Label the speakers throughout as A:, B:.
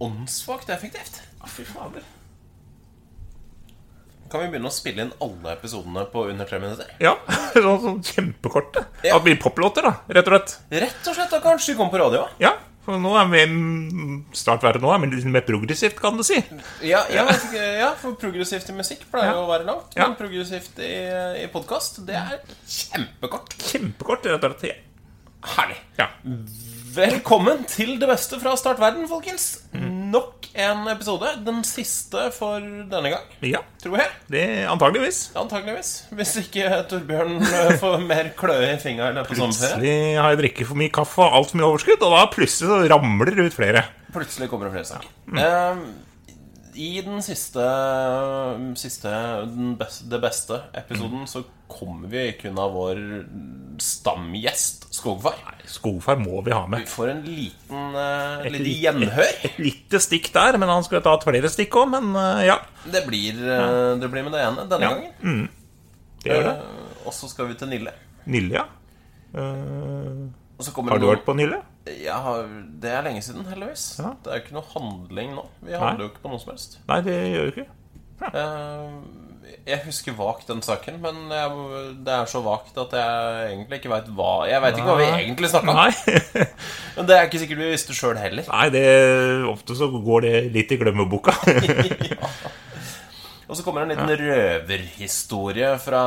A: åndssvakt effektivt.
B: Ja, fy fader.
A: Kan vi begynne å spille inn alle episodene på under tre minutter?
B: Ja, sånn, sånn kjempekorte. Ja. At vi poplåter, da, rett og slett.
A: Rett og slett, da kanskje vi kommer på radio?
B: Ja, for nå er vi Snart været nå er vi litt mer progressivt, kan du si.
A: Ja, jeg vet ikke, ja for progressivt i musikk pleier jo å være langt.
B: Ja.
A: Men progressivt i, i podkast, det er kjempekort.
B: Kjempekort, rett og slett.
A: Herlig.
B: Ja.
A: Velkommen til det beste fra Start Verden, folkens. Nok en episode. Den siste for denne gang,
B: ja
A: tror jeg.
B: det antageligvis.
A: Antakeligvis. Hvis ikke Torbjørn eh, får mer kløe i fingra i løpet av sommerferien.
B: Plutselig har jeg drikket for mye kaffe og altfor mye overskudd, og da plutselig så ramler det ut flere.
A: Plutselig kommer det flere saker.
B: Mm.
A: Eh, I den siste, siste den beste, Det beste episoden
B: Mm.
A: så kommer vi ikke unna vår stamgjest, Skogfar.
B: Skogfar må vi ha med.
A: Vi får en liten uh,
B: Et
A: lite
B: lite-
A: gjenhør.
B: Et lite stikk der, men han skulle ta flere stikk òg, men eh, ja.
A: Det blir, eh, det blir med det ene denne
B: Ja.
A: gangen.
B: Det gjør det.
A: Eh, og så skal vi til Nille.
B: Nille, ja. Eh,
A: Og så kommer
B: har du
A: noen-
B: vært på Nille?
A: Jeg har, det er lenge siden, heldigvis.
B: Ja.
A: Det er jo ikke noe handling nå. Vi handler jo ikke på noe som helst.
B: Nei, det gjør du ikke.
A: Eh, Jeg husker vagt den saken, men jeg, det er så vagt at jeg egentlig ikke veit hva Jeg veit ikke hva vi
B: Nei.
A: egentlig snakka om.
B: Nei.
A: Men det er ikke sikkert vi visste sjøl heller.
B: Nei, det, ofte så går det litt i glemmeboka.
A: Ja. Og så kommer en liten røverhistorie fra,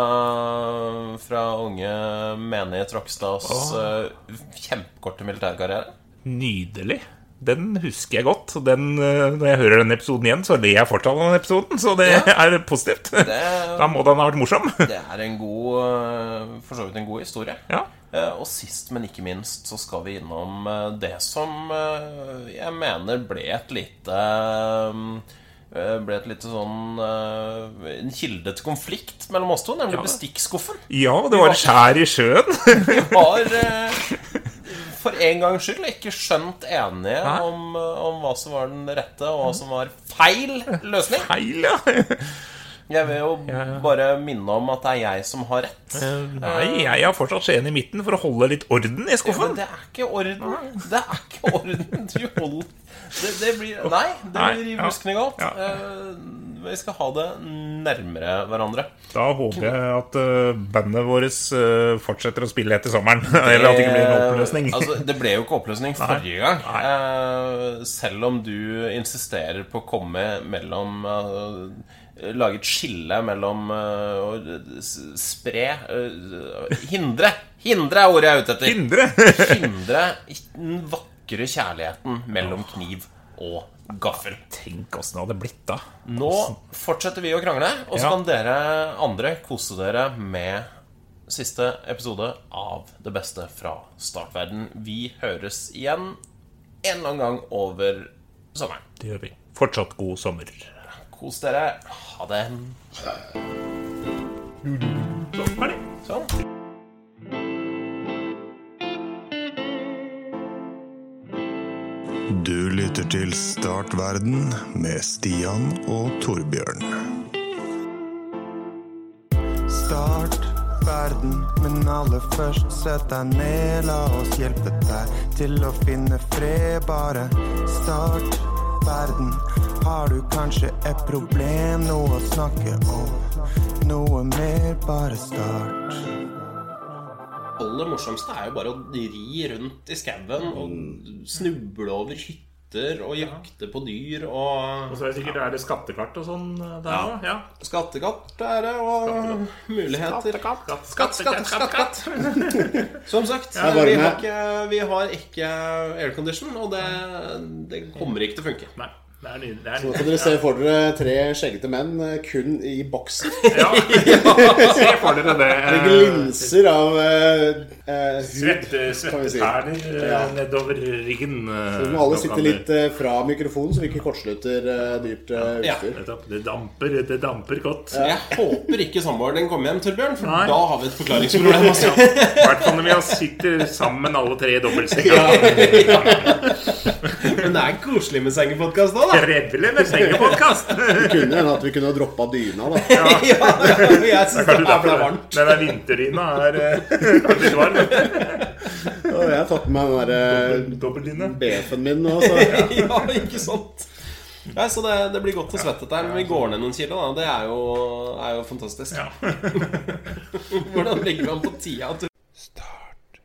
A: fra unge menige Trogstads eh, kjempekorte militærkarriere.
B: Nydelig. Den husker jeg godt. og Den, eh, når jeg hører den episoden igjen, så ler jeg fortsatt av den episoden. Så det er positivt. Da må den ha vært morsom.
A: Det er en god, eh, for så vidt en god historie.
B: Ja.
A: Eh, Og sist, men ikke minst, så skal vi innom eh, det som eh, jeg mener ble et lite eh, ble et lite sånn eh, En kilde til konflikt mellom oss to, nemlig bestikkskuffen.
B: ja, det var et skjær i sjøen.
A: Vi var eh, for en gangs skyld ikke skjønt enige
B: Nei.
A: om, eh, om hva som var den rette, og hva som var feil løsning.
B: Feil, ja.
A: Jeg vil jo bare minne om at det er jeg som har rett.
B: Eh, Nei, jeg har fortsatt skjeen i midten for å holde litt orden i
A: Ja, men
B: skuffen.
A: det er ikke orden. Det er ikke orden du holder det, det blir Nei, det
B: Nei,
A: blir riv
B: ja.
A: ruskende galt.
B: Ja.
A: Eh, vi skal ha det nærmere hverandre.
B: Da håper jeg at eh, bandet vårt eh, fortsetter å spille etter sommeren. Eller at det ikke blir en oppløsning.
A: Eh, altså, det ble jo ikke oppløsning forrige gang. Eh, selv om du insisterer på å komme mellom eh, Lage et skille mellom eh, å s- spre eh, Hindre! Hindre er ordet jeg er ute etter.
B: Hindre!
A: Hindre den vakre kjærligheten mellom kniv og gaffel.
B: Tenk åssen det hadde blitt da.
A: Nå fortsetter vi å krangle, og så
B: Ja.
A: kan dere andre kose dere med siste episode av Det beste fra startverden. Vi høres igjen en eller annen gang over sommeren.
B: Det gjør vi. Fortsatt god sommer.
A: Kos dere. Ha det.
B: Ferdig.
A: Sånn.
C: Du lytter til Start Verden med Stian og Torbjørn.
D: Start verden, men aller først sett deg ned. La oss hjelpe deg til å finne fred. Bare start verden. Har du kanskje et problem, noe å snakke om? Noe mer, bare start.
A: aller morsomste er jo bare å ri rundt i skauen og snuble over hytter og jakte på dyr og
B: Så er det sikkert er det skattekart og sånn der da? Ja.
A: Skattekatt er det, og muligheter.
B: Skatt,
A: Skatt, skatt, skatt, skatt. Som sagt,
E: bare
A: vi
E: med.
A: har ikke, vi har ikke aircondition, og det, det kommer ikke til å funke.
B: Nei, det er nydelig. Det er
E: Nå kan dere se for dere tre skjeggete menn eh, kun i boksen.
B: Ja, se for dere det.
E: Det glinser av eh, eh, hud,
B: Svette,
E: kan vi si.
B: svetteperler eh, nedover ryggen. eh,
E: Vi må alle
B: nå
E: sitte
B: kan det-
E: litt eh, fra mikrofonen, så vi ikke kortslutter eh, dyrt eh,
A: Ja.
E: utstyr.
B: Nettopp. Det damper, det damper godt. I
A: Jeg håper ikke samboeren din kommer hjem, Torbjørn, for
B: Nei.
A: da har vi et forklaringsproblem. Altså.
B: hvert fall når vi sitter sammen alle tre i dobbeltsenga.
A: Men det er koselig med sengepodkast òg, da.
B: Trevlig med sengepodkast!
E: Det kunne hende at vi kunne ha droppa dyna, da.
A: Ja, ja, jeg syns det
B: Kanskje
A: her ble
B: derfor
A: varmt.
B: den der vinterdyna er eh, litt varm.
E: Og jeg har tatt med meg den
B: Dobbeltlinje.
E: der BF-en min nå, så
A: ja, ikke sant? Nei, så det, det blir godt og svett dette her, men vi går ned noen kilo, da. Det er jo, er jo fantastisk.
B: Ja.
A: Hvordan legger vi an på tida? Start verden.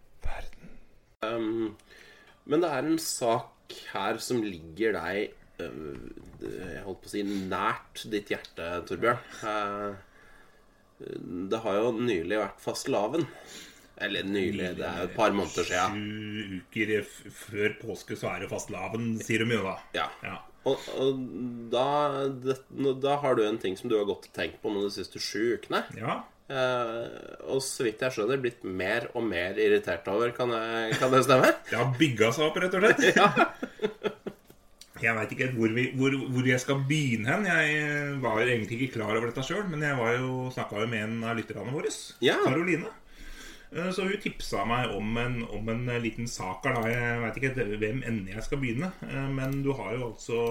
A: men det er en sak her som ligger deg eh, Jeg holdt på å si nært ditt hjerte, Torbjørn. Eh, det har jo nylig vært fastelavn. Eller nylig, det er jo et par måneder siden.
B: Sju uker f- før påske så er det fastelavn, sier de jo da.
A: Ja.
B: Ja.
A: Og, og da, det, nå- da har du en ting som du har gått og tenkt på nå de siste sju ukene.
B: ja.
A: Eh, og så vidt jeg skjønner, blitt mer og mer irritert over. Kan, jeg, kan det stemme?
B: Det har bygga seg opp, rett og slett. Jeg veit ikke helt hvor, vi, hvor, hvor jeg skal begynne hen. Jeg eh, var jo egentlig ikke klar over dette sjøl, men jeg var jo, snakka jo med en av lytterne våre,
A: Ja.
B: Karoline. Eh, Så hun tipsa meg om en, om en liten sak her. da. Jeg veit ikke helt hvem ende jeg skal begynne. eh, Men du har jo altså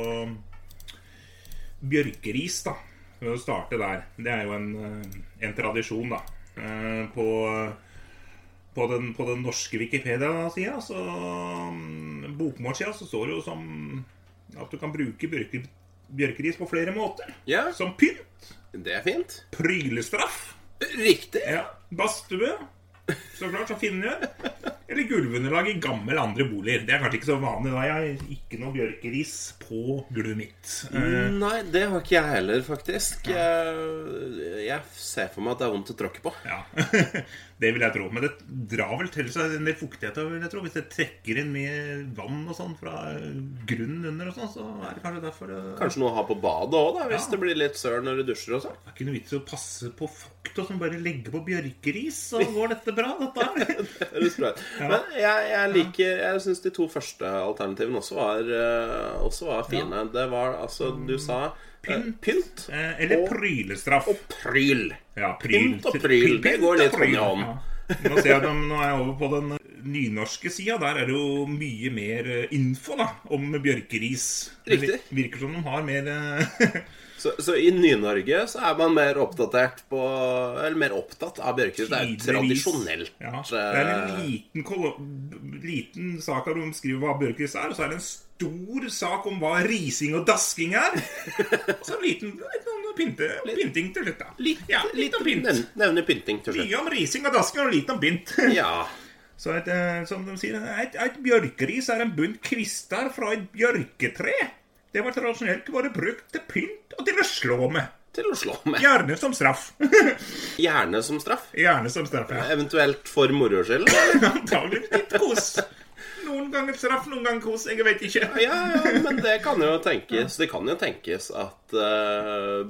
B: bjørkeris, da. For å starte der. Det er jo en, eh, en tradisjon, da. Eh, På på den, på den norske Wikipedia-sida, så mm, bokmålssida, så står det jo som at du kan bruke bjørke, bjørkeris på flere måter.
A: Ja,
B: Som pynt,
A: det er fint.
B: prylestraff,
A: Riktig.
B: ja, badstue, så klart, så finner eller gulvunderlag i gammel andre boliger. Det er kanskje ikke så vanlig. da, Jeg har ikke noe bjørkeris på gulvet mitt. Eh,
A: Nei, det har ikke jeg heller, faktisk. Jeg, jeg ser for meg at det er vondt å tråkke på.
B: Ja, det vil jeg tro. Men det drar vel til seg en del fuktighet, vil jeg tro. Hvis det trekker inn mye vann og sånn fra grunnen under og sånn, så er det kanskje derfor det
A: Kanskje noe å ha på badet òg, hvis
B: Ja.
A: det blir litt søl når du dusjer og sånn.
B: Det er ikke noe vits i å passe på fukt og sånn. Bare legge på bjørkeris, så går dette bra, dette her.
A: Høres bra ut. Men jeg, jeg liker Jeg syns de to første alternativene også var, eh, også var fine. Det var altså Du sa eh,
B: Pynt.
A: pynt
B: Eh, Eller
A: Og-
B: prylestraff.
A: og pryl.
B: Ja, pryl.
A: Pynt og pryl, det går litt hånd i hånd.
B: Ja. Nå, ser jeg, dem- nå er jeg over på den nynorske sida. Der er det jo mye mer eh, info da, om bjørkeris. Det
A: Riktig.
B: Virker som de har mer eh,
A: Så, så i Ny-Norge så er man mer oppdatert på Eller mer opptatt av Bjørkhus. Det er jo
B: tidligvis-
A: tradisjonelt.
B: ja, Det er en
A: eh,
B: liten, kolo- liten sak der de skriver hva bjørkeris er, og så er det en stor sak om hva rising og dasking er. Og så en liten, liten pynte, pynting til slutt, da.
A: litt,
B: ja,
A: litt,
B: litt om pynt.
A: nev- Nevner pynting til slutt.
B: Mye om rising og dasking og litt om pynt.
A: Ja.
B: Så et, eh, som de sier, et, et bjørkeris er en bunt kvister fra et bjørketre. Det var tradisjonelt vært brukt til pynt og til å slå med.
A: Til å slå med.
B: Gjerne som straff.
A: Gjerne som straff.
B: Gjerne som straff, ja.
A: Eventuelt for moro skyld.
B: Antageligvis litt kos. Noen ganger straff, noen ganger kos. Jeg vet ikke.
A: Ja, ja, men det kan jo tenkes Det kan jo tenkes at eh,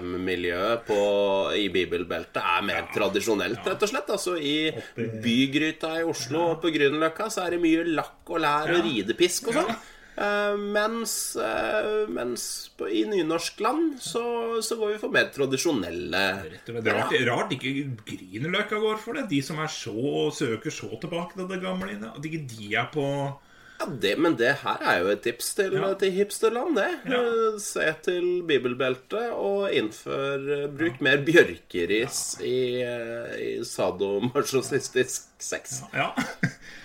A: BDSM-miljøet på- i bibelbeltet er mer tradisjonelt, rett og slett. Altså I bygryta i Oslo og på Grünerløkka så er det mye lakk og lær og ridepisk og sånn. Eh, mens eh, mens på, i nynorsk land så, så går vi for mer tradisjonelle
B: Det er rart, rart ikke Grünerløkka går for det. De som er så søker så tilbake til det gamle. At ikke de er på
A: Ja, det, men det her er jo et tips til,
B: Ja.
A: til hipsterland, det.
B: Ja.
A: Eh, Se til bibelbeltet og innfør eh, Bruk mer bjørkeris i, eh, i sadomasochistisk sex.
B: Ja.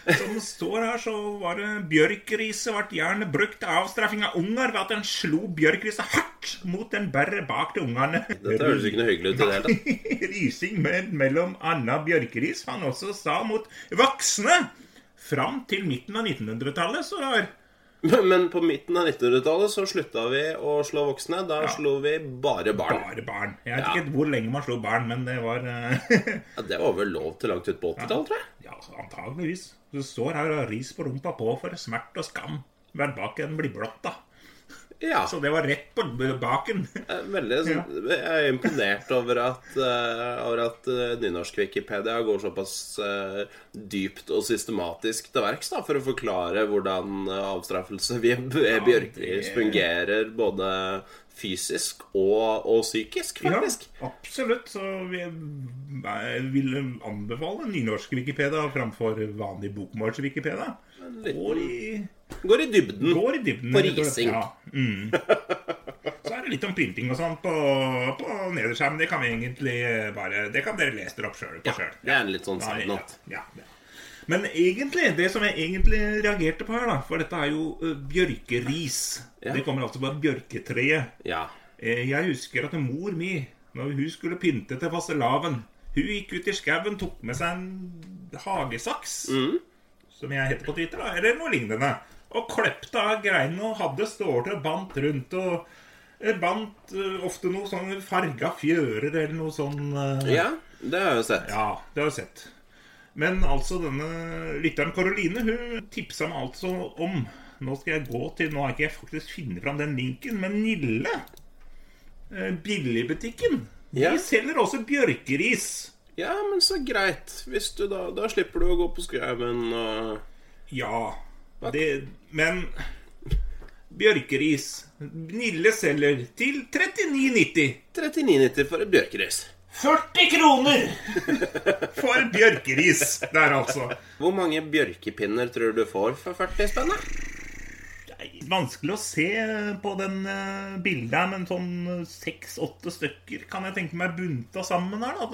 B: Som det står her, så var det bjørkriset ble gjerne brukt til avstraffing av unger ved at en slo bjørkriset hardt mot den bæret bak til ungene.
A: Dette høres jo ikke noe hyggelig ut i det hele tatt.
B: Rising med mellom anna bjørkeris han også sa mot voksne. Fram til midten av 1900-tallet så har
A: Men- Men på midten av 1900-tallet så slutta vi å slå voksne. Da slo vi bare barn.
B: bare barn. Jeg vet ikke hvor lenge man slo barn, men det var eh,
A: Ja, det var vel lov til langt ut på 80-tallet, tror jeg.
B: Ja, altså, antageligvis. Det står her og ris på rumpa på for smert og skam. Hver baken blir blått, da.
A: Ja.
B: Så det var rett på baken.
A: Jeg er Veldig sånn, Jeg er imponert over at, eh, over at eh, nynorsk Wikipedia går såpass eh, dypt og systematisk til verks da, for å forklare hvordan eh, avstraffelse ved ved bjørkeris
B: det-
A: fungerer både fysisk og, og psykisk,
B: Ja,
A: faktisk.
B: absolutt. Så vi jeg vil anbefale nynorsk Wikipedia framfor vanlig bokmåls-Wikipedia. Går i,
A: Går i dybden.
B: går i dybden.
A: På
B: rett og slett.
A: rising.
B: Ja. Mm. Så er det litt om pynting og sånn på, på nederskjermen. Det kan vi egentlig bare Det kan dere lese dere opp sjøl.
A: Ja, det er en litt sånn
B: Ja,
A: side
B: ja,
A: note.
B: ja, ja. Men egentlig, det som jeg egentlig reagerte på her, da For dette er jo eh, bjørkeris. Det kommer altså fra bjørketreet.
A: Ja.
B: Eh, Jeg husker at mor mi, når hun skulle pynte til fastelavn Hun gikk ut i skauen, tok med seg en hagesaks,
A: Mm.
B: som jeg heter på Twitter, da, eller noe lignende, og klepte av greinene og hadde ståler og bandt rundt. og eh, Bandt eh, ofte noe sånn farga fjører eller noe sånn eh,
A: ja, det har jeg jo sett.
B: ja, det har jeg sett. Men altså, denne lytteren Karoline, hun tipsa meg altså om Nå skal jeg gå til Nå har ikke jeg faktisk funnet fram den linken, men Nille, eh, billigbutikken,
A: Ja.
B: de selger også bjørkeris.
A: Ja, men så greit. Hvis du da, da slipper du å gå på skauen og
B: Ja. Det, men bjørkeris Nille selger til 39,90.
A: 39,90 for et bjørkeris.
B: 40 kroner for bjørkeris der, altså.
A: Hvor mange bjørkepinner tror du du får for 40 spenn? da?
B: Vanskelig å se på den eh, bildet her, men sånn seks-åtte stykker kan jeg tenke meg bunta sammen her. da.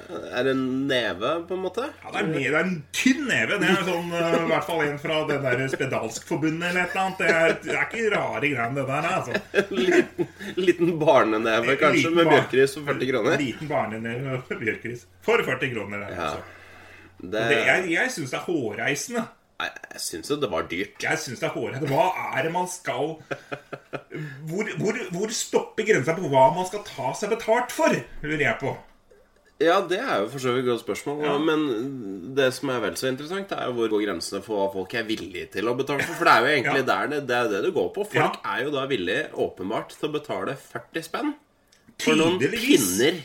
B: Det,
A: Er det en neve, på en måte?
B: ja, det, er, mer- det er en tynn neve. Det er sånn, eh, i hvert fall en fra den der Spedalskforbundet eller et eller annet. Det er, det er ikke rare greiene, det der. altså.
A: Liten, liten barneneve, kanskje,
B: Liten
A: med
B: barn-
A: bjørkeris for 40 kroner?
B: Liten barneneve og bjørkeris. For 40 kroner. Der,
A: Ja.
B: altså.
A: Det,
B: det, jeg jeg syns det er hårreisende.
A: Nei, jeg syns jo det var dyrt.
B: Jeg syns det er hårreisende. Hva er det man skal Hvor, hvor, hvor stopper grensa på hva man skal ta seg betalt for, lurer jeg på.
A: Ja, det er jo for så vidt et godt spørsmål. Men det som er vel så interessant, er jo hvor går grensene for hva folk er villige til å betale for. For det er jo egentlig der det, det er det det går på. Folk er jo da villige, åpenbart, til å betale 40 spenn for noen
B: Tydeligvis.
A: pinner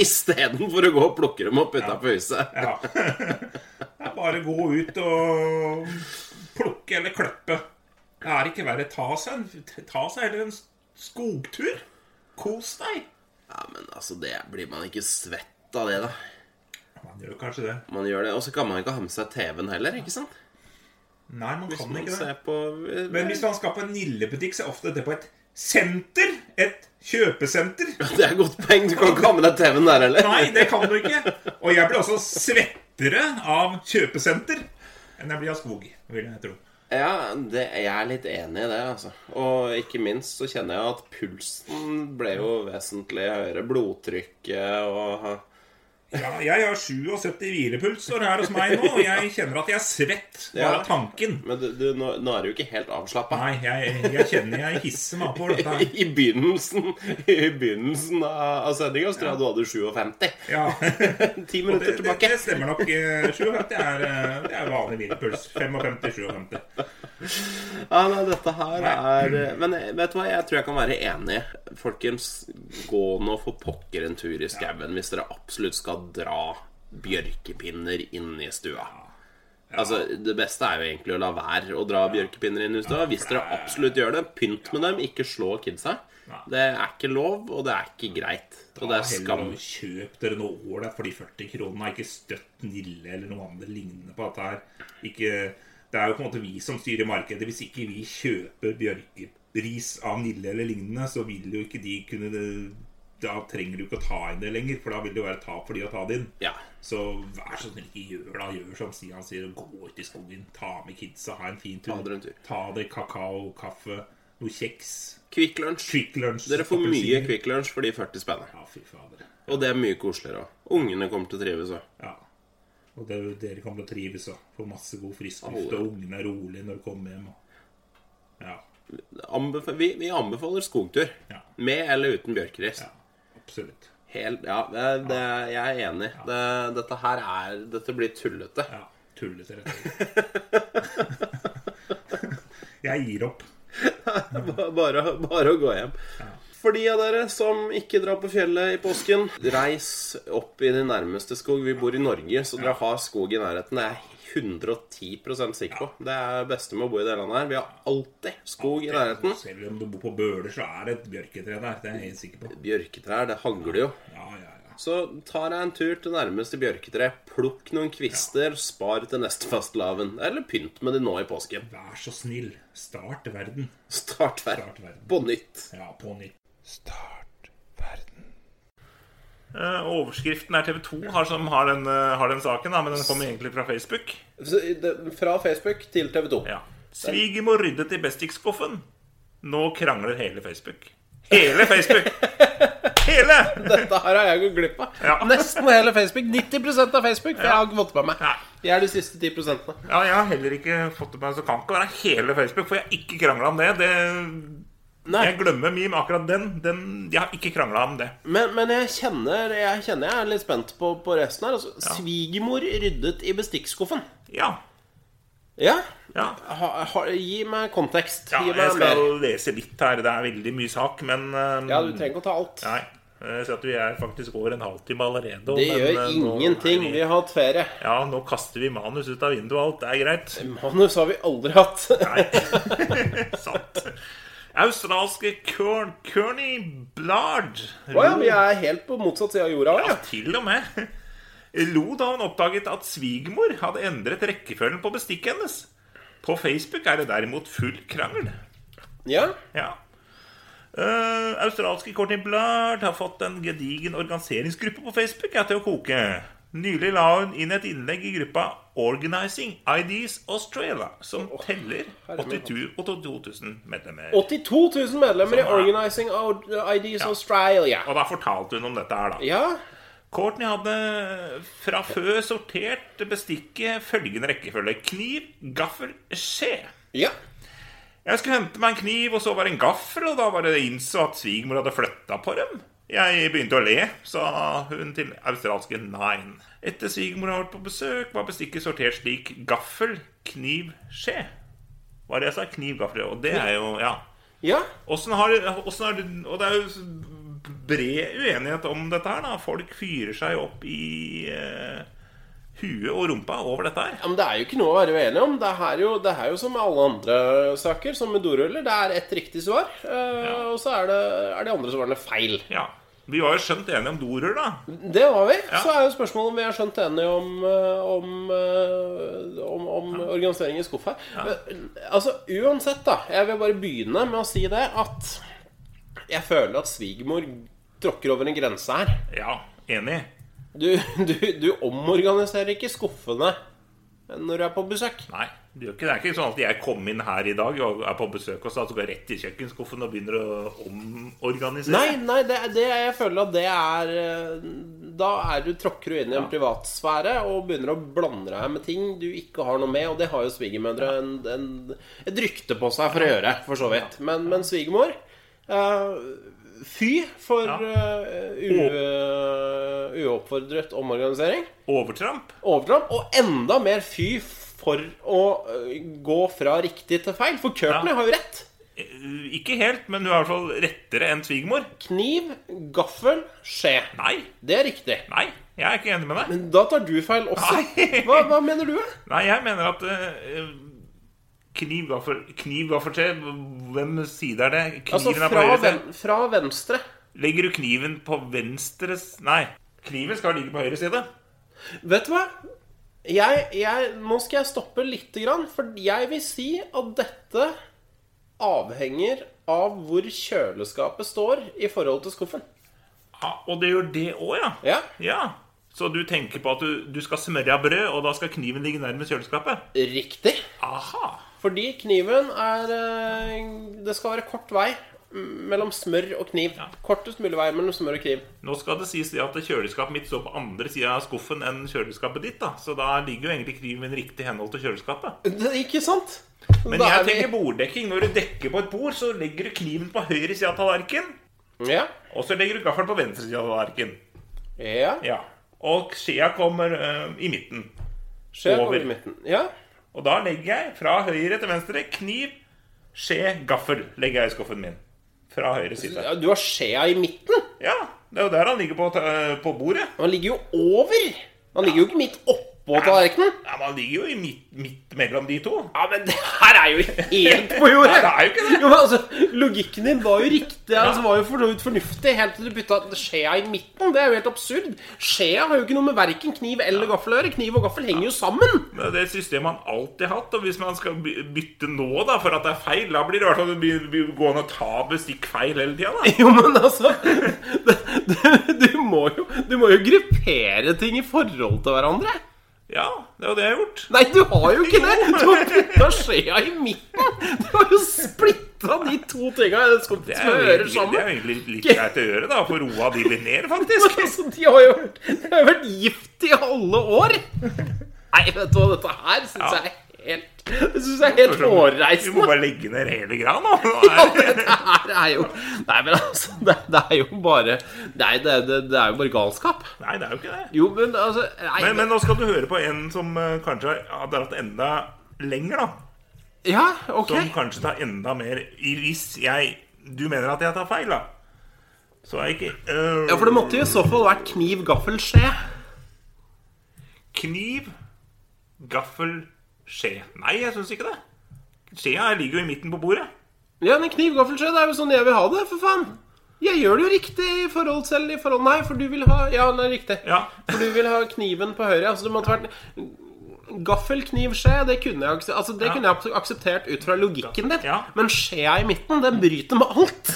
A: istedenfor å gå og plukke dem opp utafor huset.
B: Ja. Det er bare å gå ut og plukke eller klippe. Det er ikke verre. Ta seg, en- ta seg heller en skogtur. Kos deg.
A: Ja, men altså, det blir man ikke svett av det, da.
B: Man gjør kanskje det.
A: Man gjør det, Og så kan man ikke ha med seg TV-en heller, ikke sant?
B: Nei, man kan
A: Man
B: ikke det.
A: ser på eh,
B: Men hvis man skal på en Nille-butikk, så er ofte det på et senter. Et kjøpesenter.
A: Det er et godt poeng. Du kan ikke ha med deg TV-en der heller.
B: Nei, det kan du ikke. Og jeg blir også svettere av kjøpesenter enn jeg blir av skog, vil jeg tro.
A: Ja, det, jeg er litt enig i det, altså. Og ikke minst så kjenner jeg at pulsen ble jo vesentlig høyere. Blodtrykket og
B: Ja, jeg har 77 hvilepuls står her hos meg nå, og jeg kjenner at jeg er svett bare
A: Ja.
B: av tanken.
A: Men du, du nå, nå er du jo ikke helt avslappa.
B: Nei, jeg, jeg kjenner jeg hisser meg opp over dette
A: I,
B: her.
A: I begynnelsen I begynnelsen av, av sendinga så tror jeg du hadde 57.
B: Ja.
A: Ti
B: Og Det,
A: minutter
B: det,
A: tilbake.
B: det stemmer nok. eh, 57 er, eh, det er vanlig hvilepuls. 55-57.
A: Ja, nei, dette her er eh, Men vet du hva, jeg tror jeg kan være enig. Folkens, gå nå for pokker en tur i skauen hvis dere absolutt skal dra bjørkepinner inn i stua. Altså, Det beste er jo egentlig å la være å dra bjørkepinner inn i stua. Hvis dere absolutt gjør det, pynt med dem, ikke slå kidsa. Det er ikke lov, og det er ikke greit. Og det er skam.
B: Heller Kjøp dere noe ålreit for de 40 kronene. Ikke støtt Nille eller noe annet lignende på dette her. Ikke, det er jo på en måte vi som styrer markedet. Hvis ikke vi kjøper bjørkebris av Nille eller lignende, så vil jo ikke de kunne Da trenger du ikke å ta inn det lenger, for da vil det jo være tap for de å ta det inn.
A: Ja.
B: Så vær så snill, ikke gjør det. Gjør som Stian sier, gå ut i skogen, ta med kidsa, ha en fin tur.
A: Ta dere en tur.
B: Ta dere kakao, kaffe, noe kjeks.
A: Kvikk lunsj.
B: Quick lunch.
A: Dere får mye
B: appelsiner.
A: Kvikk lunsj for de 40 spennene.
B: Ja, fy fader.
A: Og det er mye koseligere òg. Ungene kommer til å trives òg.
B: Ja. Og det, dere kommer til å trives og få masse god frisk luft, og ungene er rolige når de kommer hjem. Og... Ja,
A: Anbef vi, vi anbefaler skogtur.
B: Ja.
A: Med eller uten bjørkeris.
B: ja, absolutt.
A: Helt, ja, det, det, jeg er enig. Det, dette her er Dette blir tullete.
B: Ja, tullete rett og slett. Jeg gir opp.
A: Ba- Bare, bare å gå hjem. For de av dere som ikke drar på fjellet i påsken, reis opp i din nærmeste skog. Vi bor i Norge, så dere har skog i nærheten. Det er jeg 110 sikker på. Det er det beste med å bo i det landet her. Vi har alltid skog i nærheten.
B: Selv om du bor på Bøler, så er det et bjørketre der. Det er jeg helt sikker på.
A: Bjørketrær, det hagler jo.
B: Ja, ja, ja.
A: Så ta deg en tur til nærmeste bjørketre, plukk noen kvister, spar til neste fastelavn. Eller pynt med de nå i påsken.
B: Vær så snill, start verden.
A: Start hver
B: Start verden.
A: på nytt.
B: Ja, på nytt.
F: Start verden.
B: Eh, og Overskriften er TV2 har, som har, den, eh, har den saken, da, men den kom egentlig fra Facebook.
A: Så i det- Fra Facebook til TV 2.
B: Ja. Svigermor ryddet i Bestix-skuffen. Nå krangler hele Facebook. Hele Facebook! Hele!
A: Dette her har jeg gått glipp av.
B: Ja.
A: Nesten hele Facebook. 90 av Facebook. For jeg har ikke fått med meg.
B: Nei.
A: Jeg er de siste 10
B: Ja, jeg har heller ikke fått det med meg, så kan ikke være hele Facebook, for jeg har ikke krangla om det. det
A: Nei.
B: Jeg glemmer meme, akkurat den. den jeg har ikke krangla om det.
A: Men, men jeg, kjenner, jeg kjenner jeg er litt spent på, på resten her. Altså, Svigermor ryddet i bestikkskuffen.
B: Ja.
A: Ja?
B: ja.
A: Ha, ha, gi meg kontekst.
B: ja
A: gi meg
B: jeg skal
A: mer.
B: lese litt her. Det er veldig mye sak, men eh,
A: Ja, du trenger ikke å ta alt.
B: Nei. Jeg ser at vi er faktisk over en halvtime allerede.
A: Det
B: men,
A: gjør
B: eh, nå er
A: ingenting.
B: vi-
A: Vi har hatt ferie.
B: Ja, nå kaster vi manus ut av vinduet og alt. Det er greit.
A: Manus har vi aldri hatt.
B: Nei. Sant. Australske Kern- Kearney Blard
A: Å ja, vi er helt på motsatt side av jorda.
B: Ja,
A: Ja.
B: til og med. Lo da hun oppdaget at svigermor hadde endret rekkefølgen på bestikket hennes. På Facebook er det derimot full krangel.
A: ja.
B: Ja. Eh, australske Courtney Blard har fått en gedigen organiseringsgruppe på Facebook ja, til å koke. Nylig la hun inn et innlegg i gruppa Organizing IDs Australia, som teller 82 82 000 medlemmer.
A: 82 000 medlemmer i
B: Sånn, ja.
A: Organizing Out- IDs Australia.
B: Og da fortalte hun om dette her, da.
A: Ja.
B: Courtney hadde fra før sortert bestikket følgende rekkefølge. Kniv, gaffel, skje.
A: Ja.
B: Jeg skulle hente meg en kniv, og så var det en gaffel, og da var det innså at svigermor hadde flytta på dem. Jeg begynte å le, sa hun til australske Nine. Etter svigermor har vært på besøk, var bestikket sortert slik gaffel, kniv, skje. Hva er det jeg sa? Kniv, gaffel, og det er jo Ja.
A: Ja.
B: Åssen har, åssen har Og det er jo bred uenighet om dette her, da. Folk fyrer seg opp i eh, huet og rumpa over dette her.
A: Ja, Men det er jo ikke noe å være uenig om. Det er jo, det er jo som med alle andre saker, som med doruller. Det er ett riktig svar, eh, og så er, det, er de andre svarene feil.
B: Ja. Vi var jo skjønt enige om dorull, da.
A: Det var vi. Så er jo spørsmålet om vi er skjønt enige om, eh, om, eh, om, om organisering i skuff her. Men, Altså, uansett, da. Jeg vil bare begynne med å si det at jeg føler at svigermor tråkker over en grense her.
B: Ja, enig.
A: Du, du, du omorganiserer ikke skuffene når du er på besøk.
B: Nei. Det er jo ikke, det er ikke sånn at jeg kom inn her i dag og er på besøk og så går jeg rett i kjøkkenskuffen og begynner å omorganisere.
A: Nei, nei, det, det jeg føler at det er eh, Da er du tråkker du inn i en privatsfære og begynner å blande deg med ting du ikke har noe med, og det har jo svigermødre en, en, et rykte på seg for å gjøre, for så vidt. Men, men svigermor eh, Fy for
B: Ja.
A: eh, u- uoppfordret omorganisering.
B: Overtramp.
A: Overtramp. Og enda mer fy for å eh, gå fra riktig til feil. For Courtney
B: Ja.
A: har jo rett.
B: Eh, Ikke helt, men du er i hvert fall rettere enn svigermor.
A: Kniv, gaffel, skje.
B: Nei.
A: Det er riktig.
B: Nei, jeg er ikke enig med deg.
A: Men da tar du feil også.
B: Nei.
A: Hva, hva mener du? da?
B: Nei, jeg mener at eh, kniv, gaffel, kniv, gaffel, skje Hvem side er det? Kniven
A: Altså,
B: er på
A: fra,
B: høyre
A: ven,
B: side.
A: fra venstre.
B: Legger du kniven på venstre s- Nei. Kniven skal ligge på høyre side.
A: Vet du hva? Jeg, jeg, nå skal jeg stoppe lite grann, for jeg vil si at dette avhenger av hvor kjøleskapet står i forhold til skuffen.
B: Ja, og det gjør det òg, ja.
A: Ja,
B: Så du tenker på at du, du skal smøre av brød, og da skal kniven ligge nærmest kjøleskapet?
A: riktig.
B: Aha.
A: Fordi kniven er eh, Det skal være kort vei mellom smør og kniv. Kortest mulig vei mellom smør og kniv.
B: Nå skal det sies det at kjøleskapet mitt står på andre sida av skuffen enn kjøleskapet ditt, da. Så da ligger jo egentlig kniven riktig i henhold til kjøleskapet.
A: Det, ikke sant?
B: Men
A: Da
B: jeg
A: er vi-
B: tenker borddekking. Når du dekker på et bord, så legger du kniven på høyre side av tallerkenen.
A: Ja.
B: Og så legger du gaffelen på venstre side av tallerkenen.
A: ja.
B: Ja. Og skjea kommer eh, i midten.
A: Skje
B: Over.
A: over midten. Ja.
B: Og da legger jeg fra høyre til venstre kniv, skje, gaffel. Legger jeg i skuffen min. Fra høyre side.
A: Ja, Du har skjea i midten.
B: Ja, det er jo der han ligger på, ta- på bordet.
A: Han ligger jo over. Han ligger jo ikke midt oppå tallerkenen.
B: Ja, men Han ligger jo i midt, midt mellom de to.
A: Ja, men det her er jo helt på jordet!
B: Nei, det er jo ikke det.
A: Jo, men altså, Logikken din var jo riktig. Altså, var jo for så vidt fornuftig Helt til du bytta skjea i midten. Det er jo helt absurd. Skjea har jo ikke noe med verken kniv eller gaffel å gjøre. Kniv og gaffel henger jo sammen.
B: Det er det systemet han alltid har hatt. Og hvis man skal by- bytte nå da, for at det er feil, da blir det i hvert fall by- by- gående og ta bestikk feil hele tida.
A: Jo, men altså det, det, Du må jo, du må jo gruppere ting i forhold til hverandre.
B: Ja, det er jo det jeg har gjort.
A: Nei, du har jo ikke det! Du har putta skjea i midten! Du har jo splitta de to tinga som
B: Det er jo
A: hører
B: egentlig, det er jo
A: sammen.
B: egentlig litt greit å gjøre, da. Få roa de litt ned, faktisk.
A: Altså, de har jo vært, de har vært gift i alle år! Nei, vet du hva, dette her syns jeg er helt Det syns jeg er helt
B: Vi må
A: hårreisende.
B: bare legge ned hele greia nå.
A: Ja, dette her er jo Nei, men altså, det, det er jo bare Nei, det, det, det er jo bare galskap.
B: Nei, det er jo ikke det.
A: Jo, men altså nei,
B: Men, men nå skal du høre på en som eh, kanskje har dratt enda lenger, da.
A: Ja, ok.
B: Som kanskje tar enda mer i Hvis jeg Du mener at jeg tar feil, da? Så er jeg ikke eh,
A: Ja, for det måtte jo i så fall vært kniv, gaffel, skje.
B: Kniv, gaffel, skje. Nei, jeg syns ikke det. Skjea ligger jo i midten på bordet.
A: Ja, men kniv, gaffel, skje, det er jo sånn jeg vil ha det, for faen. Jeg gjør det jo riktig i forhold selv i forhold Nei, for du vil ha Ja, det er riktig.
B: Ja.
A: For du vil ha kniven på høyre. Altså, det måtte vært Gaffel, kniv, skje, det kunne jeg, akse- altså, det
B: Ja.
A: kunne jeg akseptert ut fra logikken din.
B: Ja.
A: Men skjea i midten, den bryter med alt.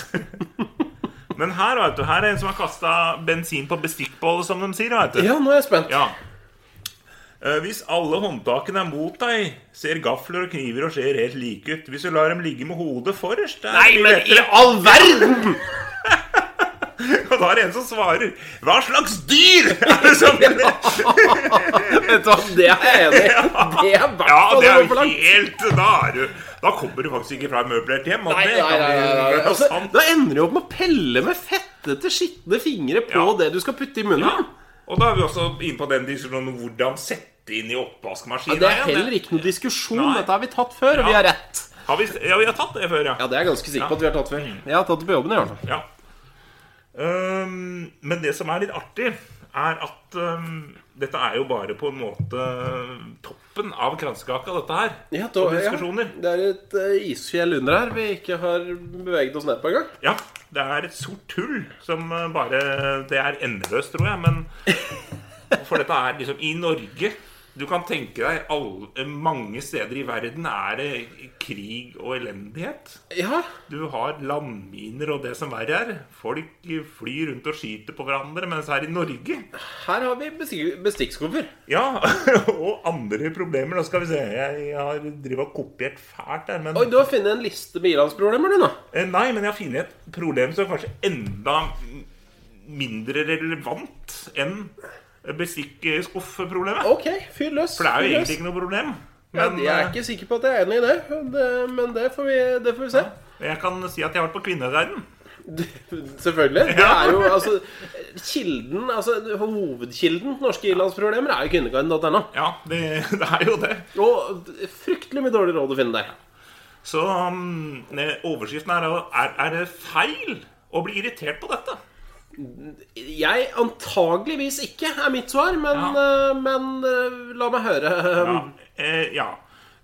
B: Men her vet du, her er en som har kasta bensin på bestikkbollet, som de sier. Vet du.
A: Ja, nå er jeg spent.
B: Ja. Eh, Hvis alle håndtakene er mot deg, ser gafler og kniver og skjer helt like ut. Hvis du lar dem ligge med hodet forrest er det
A: Nei,
B: mye
A: men i
B: lettere.
A: all verden!
B: Og da er det en som svarer Hva slags dyr er det som
A: Vet du hva, det er jeg enig i. Det er i hvert
B: Ja,
A: fall å
B: det er
A: gå
B: jo
A: for langt.
B: helt Da, er du, da kommer du faktisk ikke fra et møblert hjem. og
A: Nei,
B: det
A: nei,
B: kan
A: nei, nei,
B: bli-
A: nei.
B: det er
A: Altså,
B: sant.
A: Da ender du opp med å pelle med fettete, skitne fingre på
B: Ja.
A: det du skal putte i munnen.
B: Og da er vi også inne på den diskusjonen om hvordan sette inn i
A: Ja,
B: oppvaskmaskinen.
A: det er
B: igjen,
A: heller ikke noe diskusjon.
B: Nei.
A: Dette har vi tatt før, og
B: Ja.
A: vi har rett.
B: Har vi, ja, vi har tatt det før, ja.
A: Ja, det er jeg ganske sikker
B: Ja.
A: på at vi har tatt før. Jeg har tatt det på jobben i hvert fall.
B: Ja. Ehm, men det som er litt artig, er at ehm, dette er jo bare på en måte toppen av kransekaka, dette her.
A: Ja,
B: Og diskusjoner.
A: det er et eh, isfjell under her vi ikke har beveget oss ned på engang.
B: Ja, det er et sort hull som eh, bare Det er endeløst, tror jeg, men For dette er liksom i Norge Du kan tenke deg alle, mange steder i verden er det krig og elendighet.
A: Ja,
B: Du har landminer og det som verre er. Folk flyr rundt og skyter på hverandre, mens her i Norge
A: her har vi bestik- bestikkskuffer.
B: Ja, og andre problemer. Da skal vi se. Jeg har drivet og kopiert fælt der, men
A: Oi, du har funnet en liste med ilandsproblemer, du, nå.
B: Eh, Nei, men jeg har funnet et problem som er kanskje enda m- mindre relevant enn bestikkskuffeproblemet.
A: Ok, fyr løs.
B: For det er
A: fyr
B: jo
A: løs.
B: egentlig ikke noe problem.
A: ja,
B: Men
A: Jeg er ikke sikker på at jeg er enig i det, det men det får vi, det får vi se.
B: eh, jeg kan si at jeg har vært på Kvinneguiden.
A: Selvfølgelig. Det
B: Ja.
A: er jo altså Kilden, altså hovedkilden til norske ilandsproblemer er jo kvinneguiden.no.
B: Ja, det, det er jo det.
A: Og fryktelig mye dårlig råd å finne der.
B: Så um, ne- overskriften er, jo, er er det feil å bli irritert på dette.
A: Jeg antageligvis ikke, er mitt svar, men,
B: Ja.
A: eh, men eh, la meg høre.
B: Ja. Eh, ja.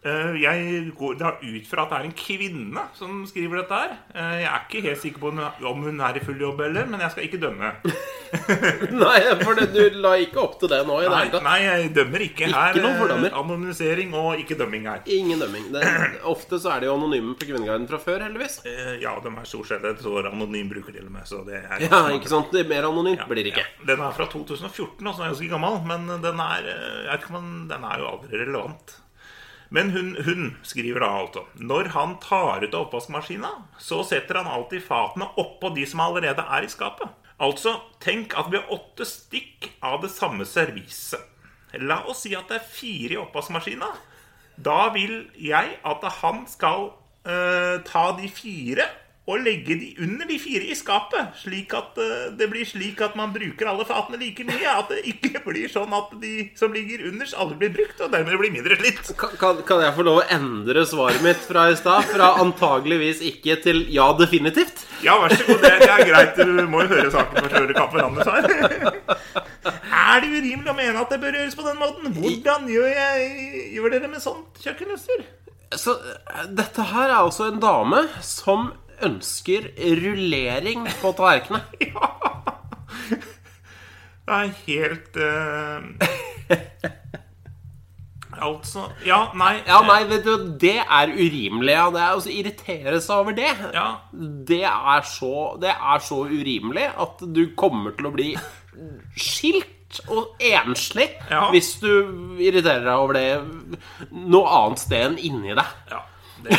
B: Eh, jeg går da ut fra at det er en kvinne som skriver dette her. Eh, jeg er ikke helt sikker på om hun- om hun er i full jobb eller, men jeg skal ikke dømme.
A: Nei, for det, du la ikke opp til det nå i det hele
B: Nei,
A: tatt.
B: nei, jeg dømmer ikke her.
A: noen fordommer.
B: eh, Anonymisering og ikke dømming her.
A: Ingen dømming. Det, ofte så er de jo anonyme på Kvinneguiden fra før, heldigvis.
B: Eh, Ja, de er stort sett et år anonym bruker til og med, så det er
A: Ja, ikke sant? Det er mer anonymt
B: Ja,
A: blir det ikke.
B: ja. Den er fra 2014, altså den er ganske gammel, men den er, eh, jeg vet ikke om den- den er jo aldri relevant. Men hun, hun skriver da altså Når han tar ut av oppvaskmaskina, så setter han alltid fatene oppå de som allerede er i skapet. Altså, tenk at vi har åtte stikk av det samme serviset. La oss si at det er fire i oppvaskmaskina. Da vil jeg at han skal eh, ta de fire og legge de under de fire i skapet. Slik at eh, det blir slik at man bruker alle fatene like mye. At det ikke blir sånn at de som ligger underst, aldri blir brukt, og dermed blir mindre slitt.
A: Kan, kan, kan jeg få lov å endre svaret mitt fra i stad? Fra antageligvis ikke til ja, definitivt?
B: Ja, vær så god. Det, det er greit. Du må jo høre saken før du kan forandre svar. Er det urimelig å mene at det bør gjøres på den måten? Hvordan gjør, jeg, gjør dere med sånt kjøkkenutstyr?
A: Så eh, dette her er altså en dame som ønsker rullering på tallerkenene.
B: Det er helt eh, Altså Ja, nei.
A: Ja, nei, vet du, det er urimelig. Ja. Det er altså irritere seg over det.
B: Ja,
A: Det, er så, det er så urimelig at du kommer til å bli skilt og enslig
B: Ja.
A: hvis du irriterer deg over det noe annet sted enn inni deg.
B: Ja, det,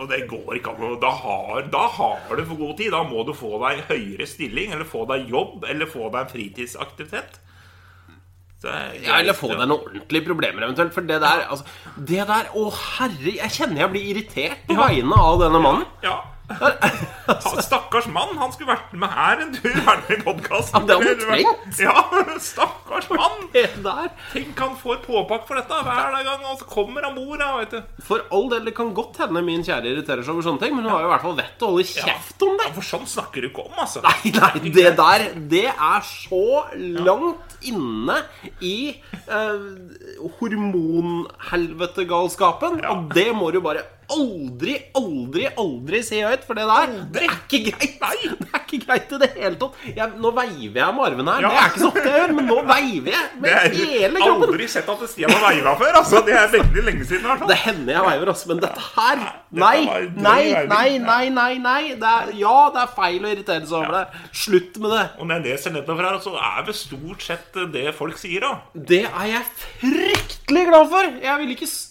B: og det går ikke an. å- Da har, da har du for god tid. Da må du få deg en høyere stilling, eller få deg jobb, eller få deg en fritidsaktivitet. Så jeg-
A: Ja, eller få deg noen ordentlige problemer eventuelt. For det der, altså, det der Å, herre Jeg kjenner jeg blir irritert på vegne av denne mannen.
B: Ja. Han, stakkars mann. Han skulle vært med her en tur. Vært med i podkasten.
A: Ja, det hadde han trengt.
B: Ja, stakkars mann.
A: Det der
B: Tenk han får påpakk for dette hver gang, og så kommer han bord her, vet du.
A: For all del, det kan godt hende min kjære irriterer seg over sånne ting, men hun har jo i hvert fall vett til å holde kjeft om det.
B: Ja, for sånn snakker du ikke om, altså.
A: Nei, nei, det der Det er så langt inne i eh, hormonhelvetegalskapen.
B: Ja.
A: Og det må du bare aldri, aldri, aldri si høyt, for det der Det er ikke greit. Det er ikke greit i det hele tatt. Jeg, nå veiver jeg med armene her.
B: Ja.
A: Det er ikke så ofte jeg gjør, men nå veiver jeg
B: Det
A: med
B: er
A: hele kroppen.
B: aldri sett at Stian har veiva før. altså Det er veldig lenge siden. i hvert fall.
A: Det hender jeg veiver, altså, men dette her
B: var
A: Nei,
B: en drøy
A: nei,
B: veiving.
A: nei, nei, nei. nei. Det er, ja, det er feil å irritere seg over det. Slutt med det.
B: Og når jeg leser nedover her, så er det stort sett det folk sier, da.
A: Det er jeg fryktelig glad for! Jeg ville ikke s-